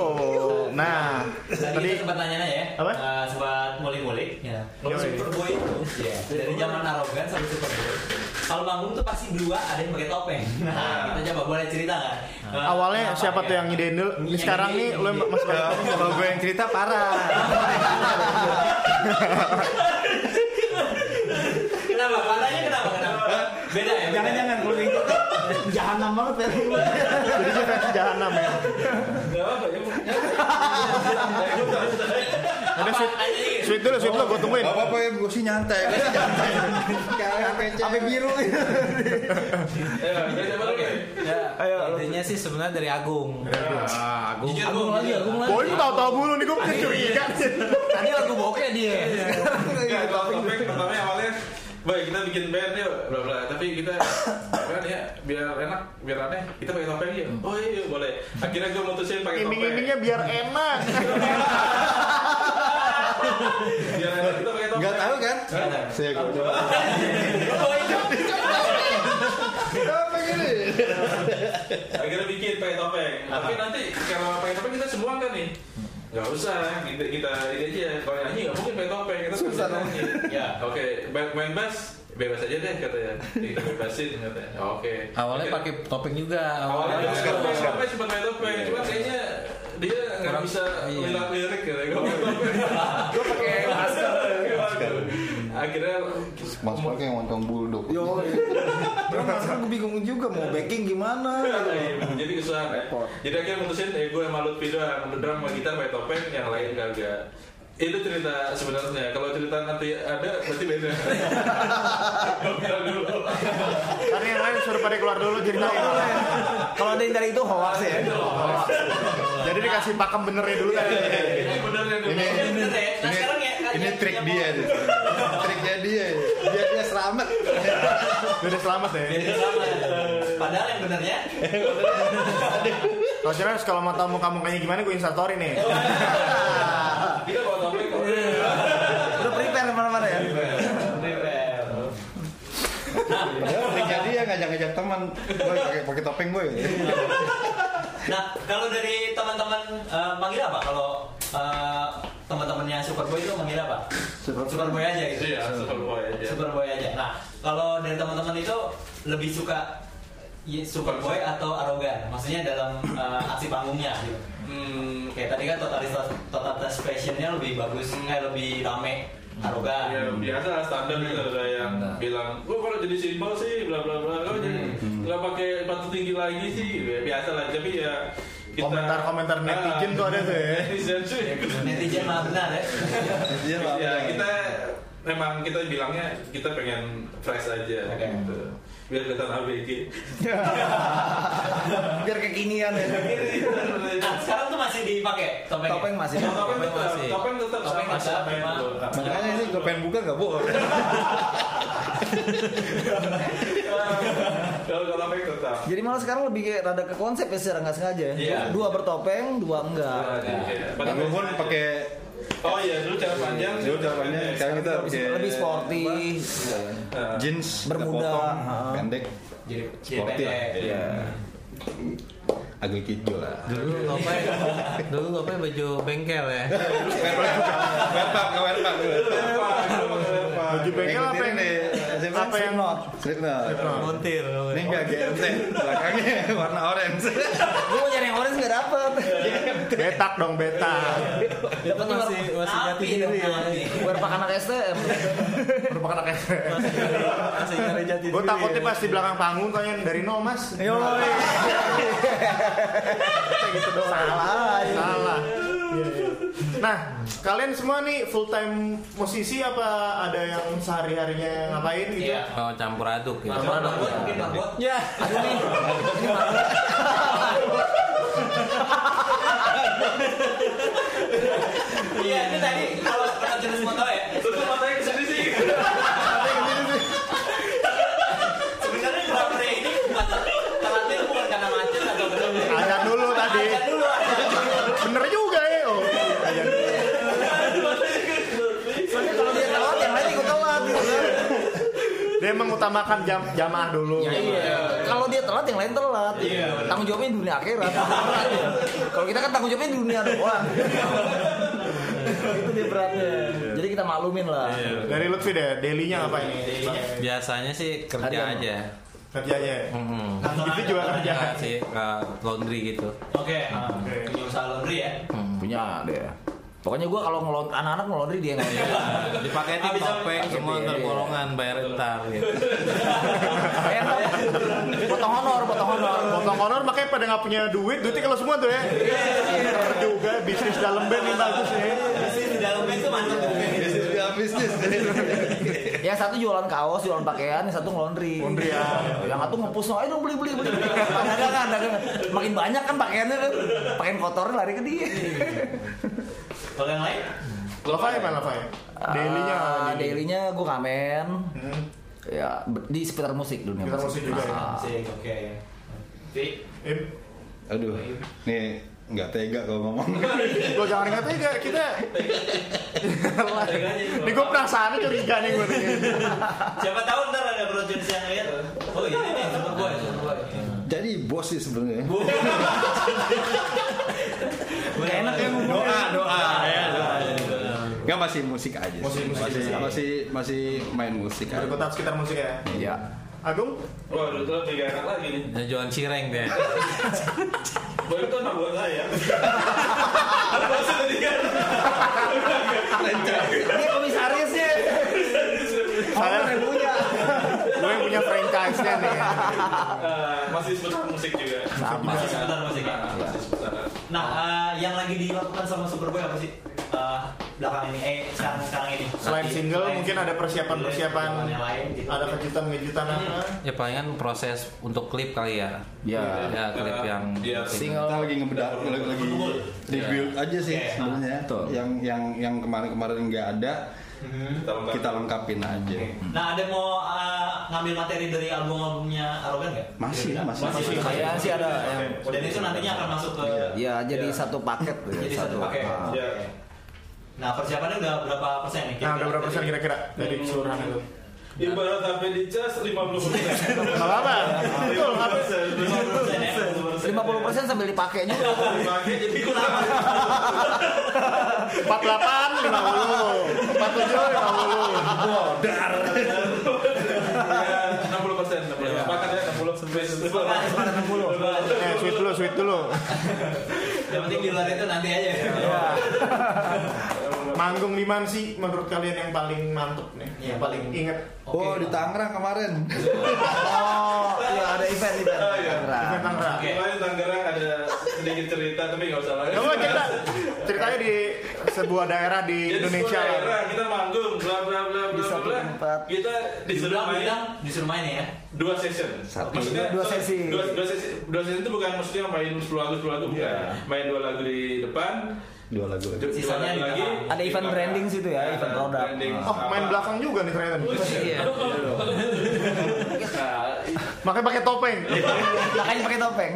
S3: Nah,
S4: Tadi
S3: tadi
S4: kita sempat nanya ya,
S3: Apa?
S4: eh, sempat mulik-mulik. Ya. Kalau
S3: Yoi.
S4: Superboy itu, ya, dari zaman arogan sampai Superboy, kalau manggung tuh pasti berdua ada yang pakai topeng. Nah, kita coba boleh cerita nggak? Eh,
S3: awalnya
S4: kenapa,
S3: siapa tuh
S4: ya?
S3: yang ngidein dulu?
S4: Yang
S3: Sekarang
S4: ngidein,
S3: nih
S4: yang
S3: lo
S4: ngidein.
S3: masih pada
S5: Kalau gue yang cerita parah.
S4: Kenapa? Warnanya kenapa? Kenapa? Beda ya. beda.
S7: jangan lu ikut jahanam banget ya
S3: jadi versi jahanam ya.
S6: Gak apa-apa ya.
S3: Udah sweet,
S4: Apaan ini?
S3: sweet dulu, sweet dulu, gue tungguin.
S5: Gak apa-apa ya, gue sih nyantai. Gue sih nyantai. Kayak apa biru.
S6: Ya, ya, siapa lagi?
S2: Ya, intinya sih sebenarnya dari Agung. Ah, Agung.
S4: Jujur,
S2: Agung
S4: Bung,
S2: lagi,
S4: jujur.
S2: Agung lagi.
S3: Boy, lu tahu-tahu mulu nih, gue curiga.
S2: Tadi lagu bokeh dia.
S6: Nggak, kalau topeng pertamanya awalnya Baik, kita bikin band yuk, bla bla. Tapi kita kan ya biar enak, biar aneh, kita pakai topeng yuk. Oh iya, iya, boleh. Akhirnya gue mutusin pakai topeng.
S3: Iming-imingnya biar enak.
S6: Biar enak, kita pakai topeng.
S5: Gak tahu kan? Saya gue coba.
S6: Akhirnya bikin pakai topeng. Tapi nanti kalau pakai topeng kita semua kan nih. Gak usah, kita, kita ini aja. Kalau nyanyi gak mungkin pakai topeng, kita susah nyanyi.
S4: Ya.
S6: Oke, main, main bass, bebas aja deh katanya. Kita bebasin katanya. Oke.
S2: Awalnya
S6: Akhirnya-
S2: pakai topeng juga.
S6: awalnya
S2: Awalnya
S6: juga topeng, topeng sempat main topeng, cuma kayaknya dia nggak
S2: Kurang-
S6: bisa
S2: iya.
S6: lihat lirik gitu. Gue gue pakai masker. Akhirnya
S5: Mas Mark yang montong bulldog.
S7: Yo, terus masa gue bingung juga mau backing gimana?
S6: jadi kesusahan ya. Jadi akhirnya mutusin eh gue sama Lutfi doang drum sama gitar pakai topeng yang lain kagak. Itu cerita sebenarnya. Kalau cerita nanti ada berarti beda. Gua bilang dulu.
S3: Karena yang lain suruh pada keluar dulu ceritain.
S7: Kalau ada yang dari itu hoax ya.
S3: Jadi dikasih pakem benernya dulu tadi.
S6: Ini bener ya.
S5: Ini
S4: Iya, bener ya. Nah, sekarang ya, kan
S5: ini
S4: yang-
S5: trik
S4: yang
S5: dia nih. Triknya dia. ya. Biar dia selamat.
S3: Udah selamat ya.
S4: Beda sama. Padahal yang benernya
S3: Kalau serius, kalau mau tahu muka mukanya gimana gue instastory nih.
S6: Kita bawa topeng. kok.
S3: Iya.
S7: Udah prepare kemana-mana ya.
S5: Padahal triknya dia ngajak-ngajak teman. Gue pakai pakai topeng gue.
S4: Nah, kalau dari teman-teman eh, manggil apa? Kalau eh, teman-temannya Superboy itu manggil apa? Superboy aja gitu.
S6: Iya, Superboy aja.
S4: Superboy aja. Nah, kalau dari teman-teman itu lebih suka y- Superboy atau arogan? Maksudnya dalam eh, aksi panggungnya gitu.
S6: Hmm,
S4: Kayak tadi kan totalitas totalitas fashionnya lebih bagus, eh lebih rame arogan.
S6: Ya biasa lah, standar gitu ada yang
S2: Standar.
S6: bilang, gua kalau jadi simbol sih bla bla bla, kalau jadi
S3: Hmm,
S6: nggak pakai batu tinggi lagi sih ya, biasa lah. Tapi ya kita
S3: Komentar-komentar netizen
S6: Ah,
S3: tuh ada tuh ya.
S6: Netizen tuh ya.
S4: Netizen mah benar ya.
S5: Dia
S6: Ya kita memang kita bilangnya kita pengen fresh aja gitu. Biar kelihatan ABG.
S7: Biar kekinian ya.
S4: Nah, sekarang tuh masih dipakai topengnya.
S7: Topeng masih.
S6: Nah, Topeng tetap,
S2: masih.
S6: topeng tetap
S4: Topeng
S6: sama
S4: tetap,
S6: topeng
S4: memang.
S6: tuh.
S5: Makanya
S7: Iya.
S5: ini gue pengen buka gak boleh.
S6: Kalau kalau topeng tetap.
S7: Jadi malah sekarang lebih kayak rada ke konsep ya secara nggak sengaja.
S6: Iya.
S7: ya Dua bertopeng, dua enggak.
S6: Iya.
S5: Nah, gue pun pakai
S6: Oh iya, dulu cara panjang. Iya.
S5: Dulu cara panjang, sekarang kita pakai
S7: Lebih sporty. Iya,
S6: Nah,
S5: jeans
S7: Bermuda.
S5: potong,
S7: Ah.
S5: pendek
S4: Jadi
S5: sporty lah.
S4: pendek.
S5: Iya. Agak hijau lah.
S2: Dulu Lope, dulu Lope baju bengkel ya.
S5: Werpak, ke werpak.
S6: apa? Dulu pakai apa?
S3: Baju bengkel apa yang apa yang
S7: Slipknot.
S5: Slipknot.
S2: Montir.
S5: nah. Ini enggak GMT, belakangnya warna orange.
S7: Gue mau nyari yang orange nggak dapet.
S3: betak dong betak.
S2: Itu masih masih jati diri ya.
S7: Berpak anak STM.
S3: Merupakan anak
S2: Masih nyari jati diri.
S3: Gue takutnya
S5: ya.
S3: pas di belakang panggung kalian dari nol mas.
S5: Iya.
S3: Nah,
S7: Yo.
S3: Kayak gitu doang.
S7: Salah.
S5: Iya,
S3: Salah. Nah, kalian semua nih full time musisi apa ada yang sehari harinya ngapain gitu?
S4: Iya.
S2: Oh, campur aduk ya.
S4: Marbot, marbot, mungkin marbot.
S2: Ya.
S4: Iya, itu tadi kalau kalau jenis motor ya.
S6: Terus lu matanya kesini sih.
S4: Sebenarnya pura-pura ini bukan terakhir bukan karena macet atau benar.
S3: Ajan dulu tadi.
S4: Ajan dulu. ajan dulu.
S3: Bener juga ya. Oh, ajan dulu.
S7: Soalnya kalau dia telat yang lain ikut telat gitu kan.
S3: Dia mengutamakan jam jamaah dulu.
S7: Iya. Kalau dia telat yang lain telat. Tanggung jawabnya di dunia akhirat. Kalau kita kan tanggung jawabnya di dunia doang. Itu dia beratnya. Jadi kita maklumin lah.
S3: Dari Lutfi deh, daily-nya apa ini?
S7: Iya.
S2: Biasanya sih kerja
S7: Harian.
S2: aja.
S3: Kerjanya.
S7: Mm-hmm.
S3: Nah,
S2: Hmm.
S3: Itu juga kerja.
S2: Enggak sih ke laundry gitu.
S4: Oke. Punya usaha laundry ya.
S3: Hmm.
S7: Punya deh. Pokoknya gua kalau ngelon anak-anak ngelondri dia yang ngelondri.
S2: Dipaketin
S4: Habis-
S2: topeng
S7: habis-
S2: semua
S7: iya,
S2: ntar
S7: iya.
S2: bolongan bayar entar gitu.
S7: Eh, potong honor, potong honor.
S3: Potong honor makanya pada nggak punya duit, duitnya kalau semua tuh ya. Bener juga bisnis dalam band ini bagus ya.
S4: Bisnis di dalam band itu mantap gitu.
S7: Yang satu jualan kaos, jualan pakaian, yang satu ngelondri.
S3: Laundry, ya.
S7: Yang satu ngepus, ayo dong beli beli beli. Dagangan, dagangan. Makin banyak kan pakaiannya kan. Pakaian kotornya lari ke dia.
S4: Kalau yang lain?
S3: Lafai mana Lafai? Daily-nya. apa
S7: Ah,
S3: ini?
S7: Dailynya gue ngamen.
S3: Hmm.
S7: Ya be- di sekitar musik dunia.
S3: Sekitar musik juga ya.
S7: Ah.
S4: Sih, oke. Jadi,
S3: Im,
S5: Aduh, nih nggak tega kalau ngomong.
S3: Eh, Lo jangan ingat aja kita.
S4: teganya juga.
S3: Ini gue perasaannya curiga nih gue nih.
S4: Siapa tahu ntar ada project yang lihat. Oh ini nih, super boy, super boy.
S5: Jadi bos sih sebenarnya.
S4: Gak enak ya
S5: Doa, doa,
S4: Iya,
S5: ya doa. Nggak masih musik aja. sih.
S3: Musik, musik,
S5: masih,
S3: musik.
S5: masih masih main musik aja.
S3: Berkutat sekitar musik ya.
S7: Iya.
S3: Agung,
S6: Wah, lu tuh lebih gak enak lagi nih.
S2: Ya, Jualan cireng deh.
S6: Boy itu anak buat saya.
S7: Dia komisarisnya.
S3: Saya-
S7: Saya yang punya.
S3: gue yang punya franchise-nya nih. ya.
S6: Eh, masih seputar musik juga.
S7: Sama.
S4: Masih sebentar masih ya.
S6: Masih seputar.
S4: Nah, eh, yang lagi dilakukan sama Superboy apa sih? Eh, belakang ini, eh sekarang sekarang ini.
S3: Selain
S4: Nanti,
S3: single,
S4: selain
S3: mungkin ada persiapan-persiapan,
S4: yang lain. Gitu.
S3: Ada kejutan-kejutan apa?
S2: Ya palingan proses untuk klip kali ya.
S7: Ya.
S2: Ya klip yang
S6: Dia
S7: Single.
S5: Kita lagi ngebedah, lagi, lagi rebuild aja sih
S4: Iya.
S5: sebenarnya.
S7: Betul.
S5: Yang yang yang kemarin-kemarin nggak ada,
S6: Kita lengkap.
S5: kita lengkapin aja.
S4: Mhm. Nah, ada mau eh, ngambil materi dari album-albumnya Arogan nggak?
S5: Masih,
S4: Kira-kira?
S5: masih.
S4: masih.
S7: Saya sih ada yang
S6: Oke.
S4: Dan itu nantinya akan masuk ke
S7: ya jadi
S6: Iya.
S7: satu paket. ya,
S4: jadi satu paket.
S7: ah.
S6: Iya.
S4: Nah, persiapannya udah berapa persen nih?
S3: Nah, ada berapa persen kira-kira dari keseluruhan itu?
S6: Ibarat HP di cas 50 persen.
S3: Gak apa-apa. Betul, nggak apa-apa.
S4: 50 persen ya?
S7: 50% sambil dipakai juga.
S6: Dipakai jadi
S4: Itu kenapa?
S3: 48, 50. 47, 50.
S6: ya, 60 persen. ya, Makanya 60
S3: Eh, sweet dulu, sweet dulu.
S4: Yang penting di luar itu nanti aja. Ya.
S3: Manggung di mana sih menurut kalian yang paling mantep nih? Yang paling inget?
S5: Oh, di Tangerang kemarin.
S7: Oh, iya ada event event.
S6: Oh, iya.
S3: Event
S7: Tangerang.
S3: Tangerang.
S4: Oke.
S6: Kemarin Tangerang ada sedikit cerita tapi nggak usah lah.
S3: Coba cerita ceritanya di sebuah daerah di
S6: Jadi
S3: Indonesia
S6: sebuah
S3: lah.
S6: daerah, kita manggung bla bla bla
S7: Di
S6: bla
S7: satu
S6: bla.
S7: tempat.
S6: Kita disuruh
S4: Dibilang
S6: main
S4: bilang disuruh main ya.
S6: dua session.
S5: Satu.
S7: Dua sesi.
S6: Dua, dua sesi. Dua sesi itu bukan maksudnya main 10 lagu 10 lagu bukan. Main dua lagu di depan,
S5: Dua lagu lagi.
S6: dua lagu
S4: Sisanya di
S6: lagi.
S4: belakang.
S7: Ada
S6: di
S7: event
S6: belakang.
S7: branding situ ya,
S6: Ada
S7: event produk.
S6: branding
S3: Oh, main
S6: sama-
S3: belakang juga nih ternyata.
S2: Iya.
S6: Nah,
S3: Makanya pakai topeng.
S7: Iya. Makanya pakai topeng.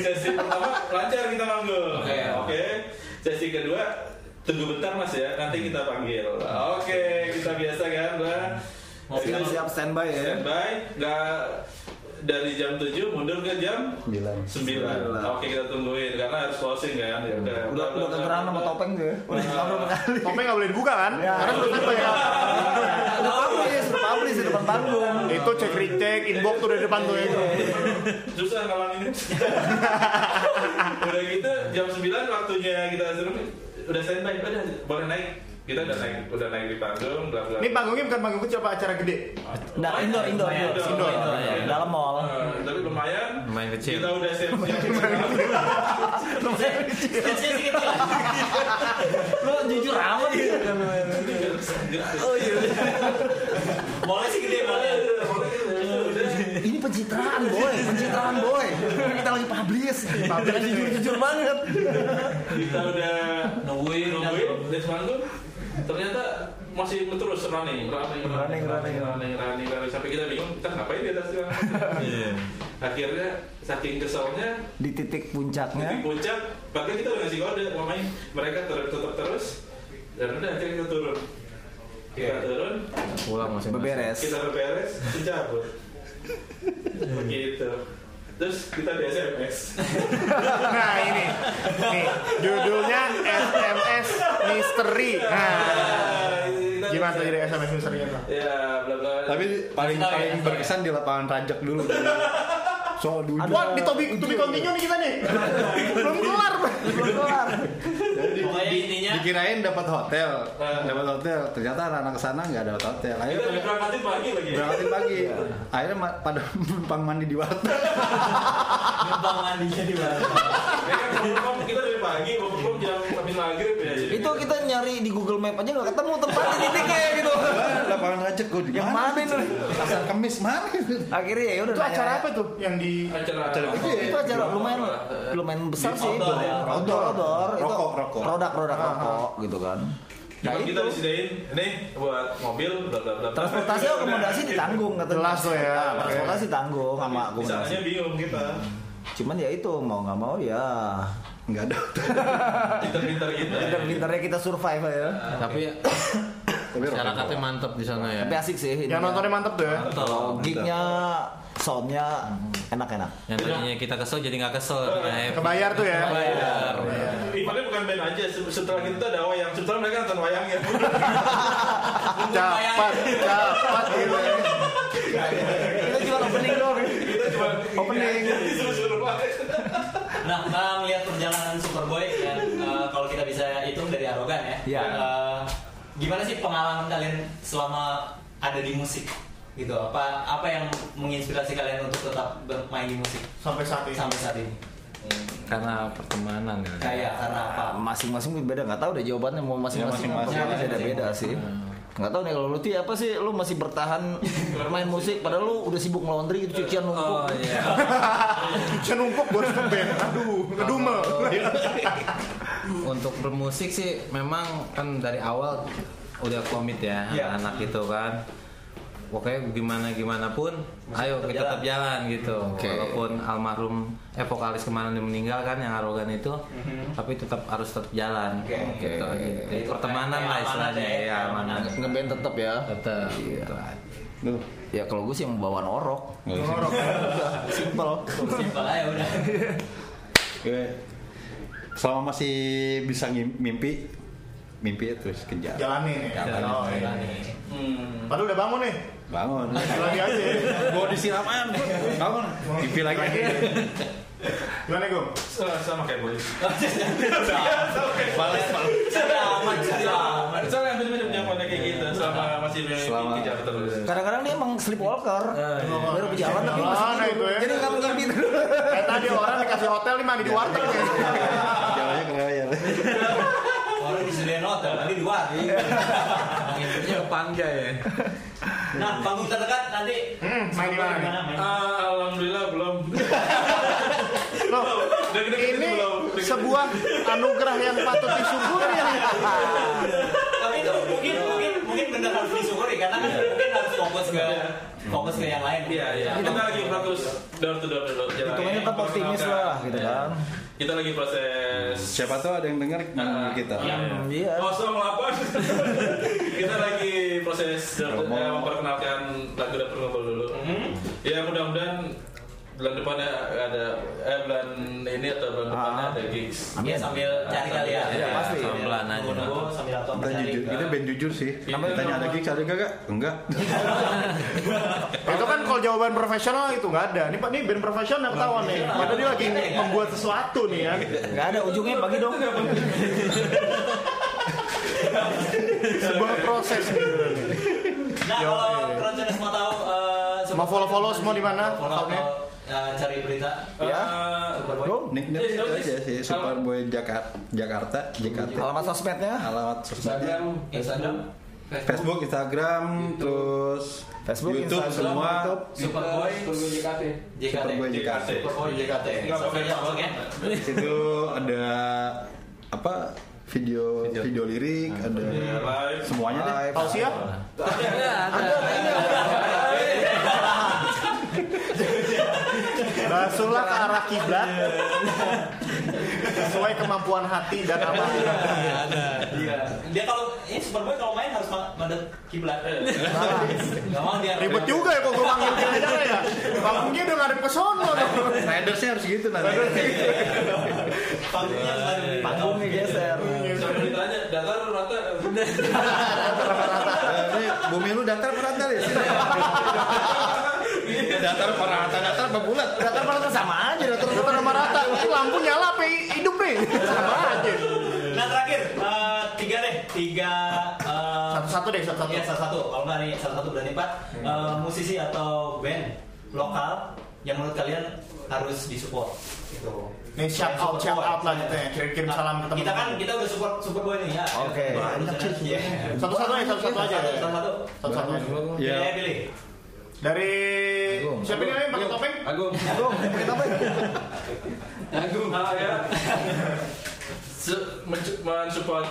S6: sesi pertama lancar kita manggung oke sesi kedua tunggu bentar mas ya nanti kita panggil oke kita biasa kan bla
S7: Siap siap standby ya.
S6: standby nggak dari jam 7 mundur ke jam
S5: Sembilan.
S6: 9 oke kita tungguin karena harus closing kan ya udah
S7: Iya. Udah udah kegeran sama topeng tuh ya. Udah ngobrol berkali.
S3: Topeng nggak boleh dibuka kan? Karena sudah standby ya.
S7: Udah publish, udah publish di depan panggung.
S3: Itu cek recheck, inbox tuh dari depan tuh ya.
S6: susah ngalamin udah gitu jam 9 waktunya kita suruh udah standby udah boleh naik kita udah naik udah naik di panggung bla bla
S3: Ini panggungnya bukan panggung kecil, Pak, acara gede.
S7: Nah, indoor, indoor,
S4: Lumayan,
S7: indoor, indoor, Iya.
S6: indoor, indoor,
S7: indoor.
S6: ya.
S7: dalam mall.
S6: Eh, tapi lumayan
S2: Lumayan kecil.
S6: kita udah siap siap
S4: Kecil sih kecil. Lu jujur amat gitu. Oh iya. Boleh sih gede boleh.
S7: Ini pencitraan, boy, pencitraan, boy. Kita lagi publish, publish jujur-jujur banget.
S6: kita udah
S4: Nungguin
S6: nungguin di panggung ternyata masih terus running running running running ya. running running, running. sampai kita bingung kita ngapain di atas sana?" akhirnya saking keselnya
S7: Di titik
S6: di
S7: puncaknya,
S6: puncak bahkan kita udah ngasih kode pemain mereka tertutup terus dan udah akhirnya kita turun kita turun
S2: pulang masih
S7: beberes.
S6: kita beberes dicabut begitu terus kita di SMS
S3: Nah, ini. Nih, judulnya SMS misteri. Nah,
S6: Kita
S3: gimana tuh
S6: di-
S3: jadi SMS misterinya, Pak?
S6: ya bla bla
S5: Tapi ya. paling paling berkesan di lapangan rajak dulu. Soal dulu.
S3: Wah, di topik to be continue nih kita nih. Belum kelar, Pak. Belum kelar.
S4: Pokoknya intinya
S5: Dikirain dapat hotel, dapat hotel. Ternyata anak-anak kesana nggak dapat hotel. Akhirnya
S6: kita
S5: pada-
S6: diberangkatin pagi lagi
S5: berangkatin pagi. Akhirnya ma- pada numpang mandi di warteg.
S4: numpang mandinya di mana?
S6: Ya kan, confirm kita dari pagi confirm jam habis maghrib ya jadi
S7: itu kita nyari di Google Map aja nggak ketemu tempat di titiknya gitu.
S5: lapangan rajak gue di
S7: Yang mana itu?
S5: Pasar Kemis mana?
S7: Akhirnya ya udah.
S3: Itu
S7: nanya.
S3: acara apa tuh yang di
S6: acara
S7: Itu acara lumayan lumayan besar sih.
S4: outdoor ya.
S7: Outdoor, outdoor. Itu
S5: Rokok, rokok.
S7: Produk-produk rokok gitu kan. Nah,
S6: Cuman kita
S7: itu.
S6: disediain nih buat mobil bla bla bla bla.
S7: Transportasi akomodasi
S6: ya.
S7: ditanggung katanya.
S3: Jelas tuh ya.
S7: Nah, Transportasi tanggung sama akomodasi.
S6: Misalnya bingung kita
S7: Cuman ya itu mau nggak mau ya.
S5: Nggak ada hotel.
S6: pinter-pinter kita ya.
S7: Pintar-pintarnya kita survive ya.
S2: Tapi
S5: Tapi rokok.
S2: masyarakatnya mantep di sana ya.
S7: Tapi asik sih.
S3: yang
S7: ininya.
S3: nontonnya mantep tuh ya?
S7: Kalau gignya, soundnya enak-enak.
S2: Yang tadinya kita kesel jadi nggak kesel. Nah,
S3: Kebayar tuh ya.
S2: Kebayar.
S6: Ivannya bukan band aja, se- setelah kita tuh ada wayang Setelah mereka nonton wayangnya
S3: Cepat, cepat gitu ya.
S7: Kita cuma opening doang.
S6: Kita cuma
S7: Opening.
S6: Disuruh-suruh banget
S4: Nah, nah, melihat perjalanan Superboy dan eh, kalau kita bisa hitung dari arogan ya.
S7: Iya.
S4: Eh, gimana sih pengalaman kalian selama ada di musik? Gitu. Apa apa yang menginspirasi kalian untuk tetap bermain di musik
S3: Sampai saat ini.
S4: sampai saat ini?
S2: Karena pertemanan kali.
S4: Kayak karena apa?
S7: Ah, Masing-masing beda nggak tahu deh jawabannya mau
S3: Iya,
S7: masing-masing
S5: Ya,
S7: apa gitu,
S5: masing-masing.
S7: pasti beda-beda sih. Nggak tahu nih kalau lu Ti, apa sih lu masih bertahan main musik padahal lu udah sibuk laundry gitu cucian
S2: Oh
S7: numpuk.
S2: iya.
S3: Cucian numpuk buat band. Aduh, ngedumel.
S2: Untuk bermusik sih memang kan dari awal udah komit ya
S4: Iya.
S2: anak itu kan. Pokoknya gimana gimana pun, ayo
S4: tetap
S2: kita tetap jalan gitu. Walaupun almarhum eh vokalis kemarin dia meninggal kan yang arogan itu, tapi tetap harus tetap jalan.
S4: Mhm. Oke.
S2: Gitu.
S7: Oke.
S2: Jadi pertemanan
S4: Kayak
S2: lah
S4: amanat
S2: istilahnya
S4: ya,
S2: ya,
S4: kayak
S2: amanat.
S4: amanat.
S7: Ngeband tetap ya.
S2: Tetap.
S7: Iya.
S2: gitu.
S5: Duh.
S7: Ya kalau gue sih yang bawaan orok.
S3: Ngorok.
S7: Simple.
S4: Simpel aja udah.
S5: Gue selama masih bisa ngim- mimpi, mimpi ya, terus kejar.
S3: Jalanin ya. Oh, iya. Padahal udah bangun nih.
S5: Bangun.
S3: Lagi aja.
S5: Bawa disiram air. Bangun. Mimpi lagi.
S3: Gimana, Gum?
S6: Sama- Sama kayak boy
S4: Selamat, selamat.
S6: Sama yang bener-bener punya kontak kayak gitu Selama masih
S5: Selama-
S6: dikejar terus
S7: Kadang-kadang dia emang sleepwalker. Baru berjalan tapi masih
S3: Nah, Eh, iya. itu
S7: tidur.
S3: ya.
S7: Jadi nggak gitu. ngerti
S3: Kayak Eh, tadi orang dikasih hotel nih mandi di warteg ya.
S5: Jalannya kelayar.
S4: Orang disediain hotel, nanti di gitu. wadi.
S2: Mimpinya panjang ya.
S4: Nah, panggung terdekat nanti.
S3: Hmm, main di mana nih?
S6: Ah, Alhamdulillah belum
S3: Loh,
S6: Deg-degan
S3: ini
S6: belum. Deg-degan.
S3: sebuah anugerah yang patut disyukuri nih.
S4: Tapi itu mungkin mungkin mungkin benar harus disyukuri karena kan mungkin harus fokus ke fokus ke yang lain.
S6: Iya, iya Kita lagi fokus door to door dulu jalan. Iya.
S7: Hitungannya tetap optimis lah gitu
S3: Iya.
S7: kan.
S6: Kita lagi proses ah,
S5: Siapa tahu ada yang dengar ngomong
S6: Nah,
S5: kita.
S7: Hmm, Iya.
S6: kosong apa? kita lagi proses eh,
S5: Promo.
S6: memperkenalkan lagu dapur ngobrol dulu ya mudah-mudahan bulan depan ya ada eh bulan ini atau bulan
S7: Ah.
S6: depannya ada gigs
S4: Ya, sambil cari kalian.
S6: Iya, pasti.
S2: Pelan aja.
S4: Nunggu sambil atau
S5: Kita
S4: mencari.
S5: jujur, kita band jujur sih.
S6: Iya.
S5: Tanya ada gigs ada gak? Enggak.
S3: Itu kan kalau jawaban profesional itu nggak ada. Nih Pak, nih band profesional ketahuan nih. Padahal dia lagi membuat sesuatu nih ya.
S7: Nggak ada ujungnya bagi dong.
S3: sebuah proses nih.
S4: Nah,
S3: Yo,
S4: kalau
S3: iya.
S4: Roger semua tahu eh, semua-
S3: Mau follow-follow semua di mana?
S4: Follow,
S3: Akunnya?
S4: follow, eh, cari berita.
S7: Ya.
S6: Ah,
S4: Superboy.
S5: Nickname
S6: Iya,
S5: itu
S6: iya,
S5: gitu aja sih
S6: iya.
S5: Superboy Jakarta Jakarta Jakarta
S7: Alamat sosmednya
S5: alamat sosmednya
S6: Instagram,
S4: Instagram,
S5: Facebook Instagram terus
S7: Facebook,
S5: YouTube
S7: Instagram,
S5: semua
S7: YouTube.
S6: Superboy, Superboy JKT.
S4: JKT.
S5: Superboy Jakarta
S4: Superboy JKT.
S6: Nggak pakai
S4: Instagram,
S6: nama.
S4: oke.
S5: di situ ada apa video video, lirik ada
S6: Live.
S5: semuanya deh
S3: Tausiah? Basuhlah ke arah kiblat sesuai kemampuan hati dan amal.
S4: Iya. Dia kalau ini Superboy kalau main harus ma- madep kiblat.
S6: Iya.
S4: Enggak mau dia.
S3: Ribet juga ya kok gue panggil kira ya. Panggungnya udah ngadep ke sono.
S5: Ridersnya harus gitu nanti
S3: Iya.
S4: Panggungnya harus madep kiblat.
S7: Panggungnya geser.
S6: Sampai ditanya, datar rata.
S5: Eh, ini bumi lu datar peratar ya sini. datar peratar datar apa bulat
S7: Datar pada sama aja datar
S3: Terus Iya, sama rata, Ini lampu nyala apa hidup nih? Sama aja.
S4: Nah, terakhir eh, tiga deh, tiga eh,
S3: Satu-satu deh, satu-satu. Hmm.
S4: Iya salah satu. Kalau nggak nih salah satu berani empat Eh, musisi atau band lokal yang menurut kalian harus disupport gitu.
S3: Nih shout out, shout out lah gitu ya. Kirim-kirim salam ke teman.
S4: Kita kan kita udah support support boy nih ya.
S7: Oke.
S4: Banyak sih. Iya.
S3: Satu-satu aja, satu-satu aja.
S4: Satu-satu.
S3: Satu-satu. aja.
S5: Iya.
S4: Iya, pilih.
S3: Dari siapa ini yang pakai topeng?
S6: Agung. Agung. Ah, ya. Se- mencu- Mensupport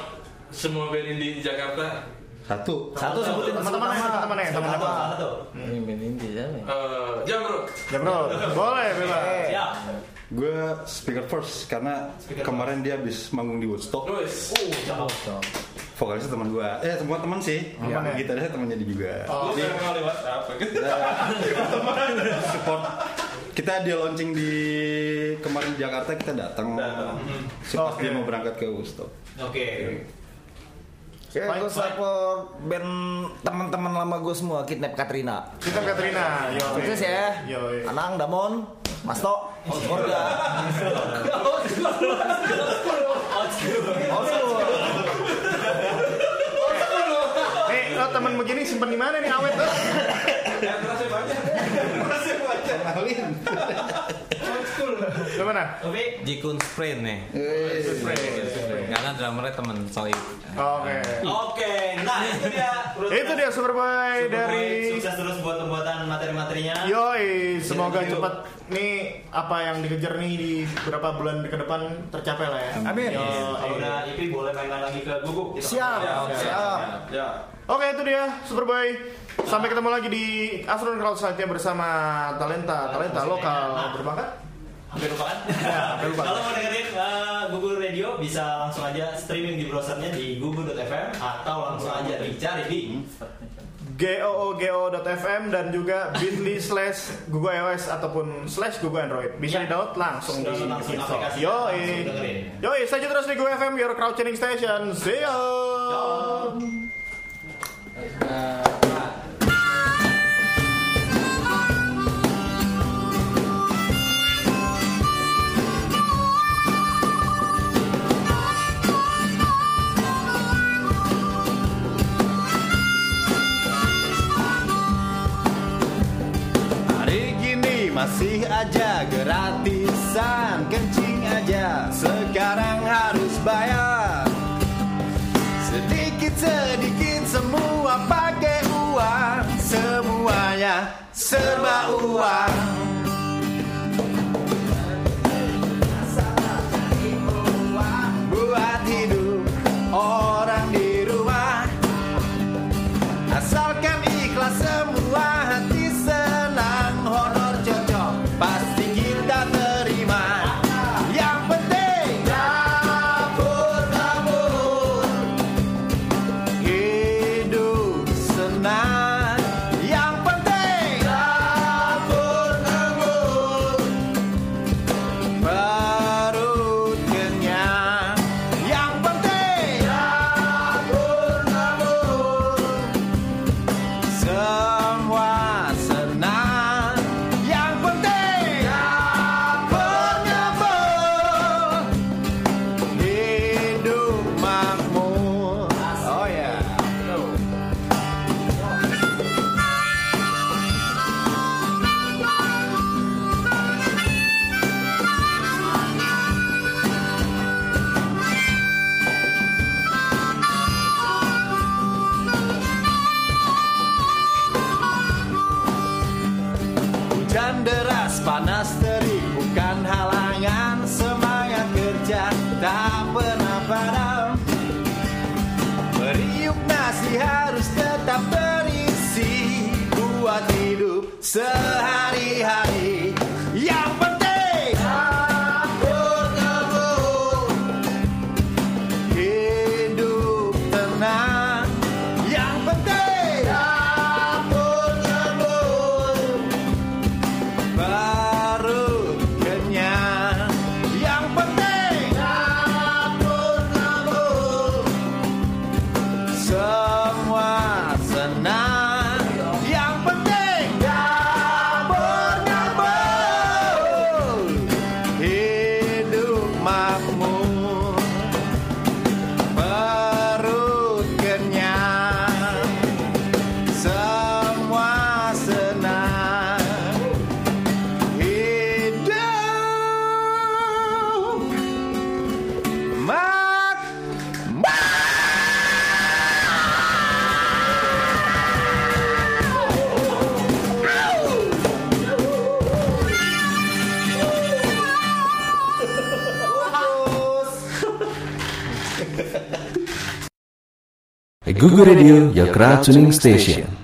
S6: semua band indie Jakarta.
S5: satu
S7: Satu sebutin
S3: Teman-teman ya, teman-teman ya,
S4: Satu,
S3: teman-teman.
S4: satu, satu.
S2: Ini band indie siapa ya?
S6: Eh, Jamrut.
S3: Ya bro, boleh bebas.
S7: Iya.
S4: Siap.
S5: gue speaker first karena
S4: Speaker
S5: kemarin dia habis manggung di Woodstock
S6: Nulis.
S4: Uh, cakep.
S5: vokalisnya teman gue eh semua teman sih
S3: Teman ya?
S5: gitarisnya temannya dia juga
S6: Lu
S5: Jadi,
S6: sering kali WhatsApp.
S5: support kita dia launching di kemarin di Jakarta kita datang
S6: Datang.
S5: si pas
S3: Oke.
S5: dia mau berangkat ke Woodstock
S4: Oke.
S7: Oke, gue support band teman-teman lama gue semua Kidnap Katrina.
S3: Kita Katrina, yo.
S7: Sukses ya.
S3: Yo.
S7: Anang, Damon, Masto, Morga.
S3: Eh, lo temen begini simpen di mana nih awet tuh?
S6: Eh, terasa banyak. Terasa banyak. Old school.
S3: Gimana?
S4: Oke.
S2: Jikun Sprint nih. Karena drummernya temen Soib.
S3: Oke.
S4: Oke. Nah, itu dia.
S3: Itu dia Superboy dari
S4: sukses terus buat pembuatan materi-materinya.
S3: Yoi,
S7: Iya,
S3: semoga
S4: Yuk.
S3: cepat nih apa yang dikejar nih di beberapa bulan ke depan tercapai lah ya.
S7: Amin. Iya,
S3: Yo,
S4: Yes, Kalau
S3: eh.
S4: udah IP boleh main lagi ke Guguk. Kita
S7: Oh, Siap,
S4: oke.
S7: siap.
S6: Ya.
S3: Oke itu dia Superboy. Sampai ketemu lagi di Afternoon Crowd selanjutnya bersama talenta talenta lokal
S7: Iya.
S3: berbakat.
S4: Hampir lupa kan?
S7: Ya,
S3: hampir lupa.
S4: Kalau mau dengerin eh, Google Radio bisa langsung aja streaming di browsernya di google.fm atau langsung aja dicari di
S7: Hmm.
S3: googo.fm dan juga bit.ly slash Google iOS ataupun slash Google Android bisa
S4: Ya.
S3: di download langsung di
S4: Download langsung
S3: Play Store.
S4: aplikasi,
S3: Yoi,
S4: langsung dengerin.
S3: yoi, saja terus di Google FM Your Crowd Tuning Station. See ya.
S5: Hari gini masih aja gratisan Kencing aja sekarang harus bayar Sedikit-sedikit semua pakai uang Semuanya serba uang Buat hidup orang di rumah Asalkan ikhlas semua hati senang Honor cocok pasti kita terima Yang penting dapur-dapur Hidup senang Yang penting dapur-dapur Oh, hujan deras panas terik bukan halangan semangat kerja tak pernah padam Beriuk nasi harus tetap berisi buat hidup sehari-hari yang penting kabur ngebut hidup tenang yang penting kabur ngebut baru kenyang yang penting kabur ngebut semua senang yang penting dapur dapur hidup makmur perut kenyang semua senang hidup makmur
S8: Google Radio, your crowd tuning station.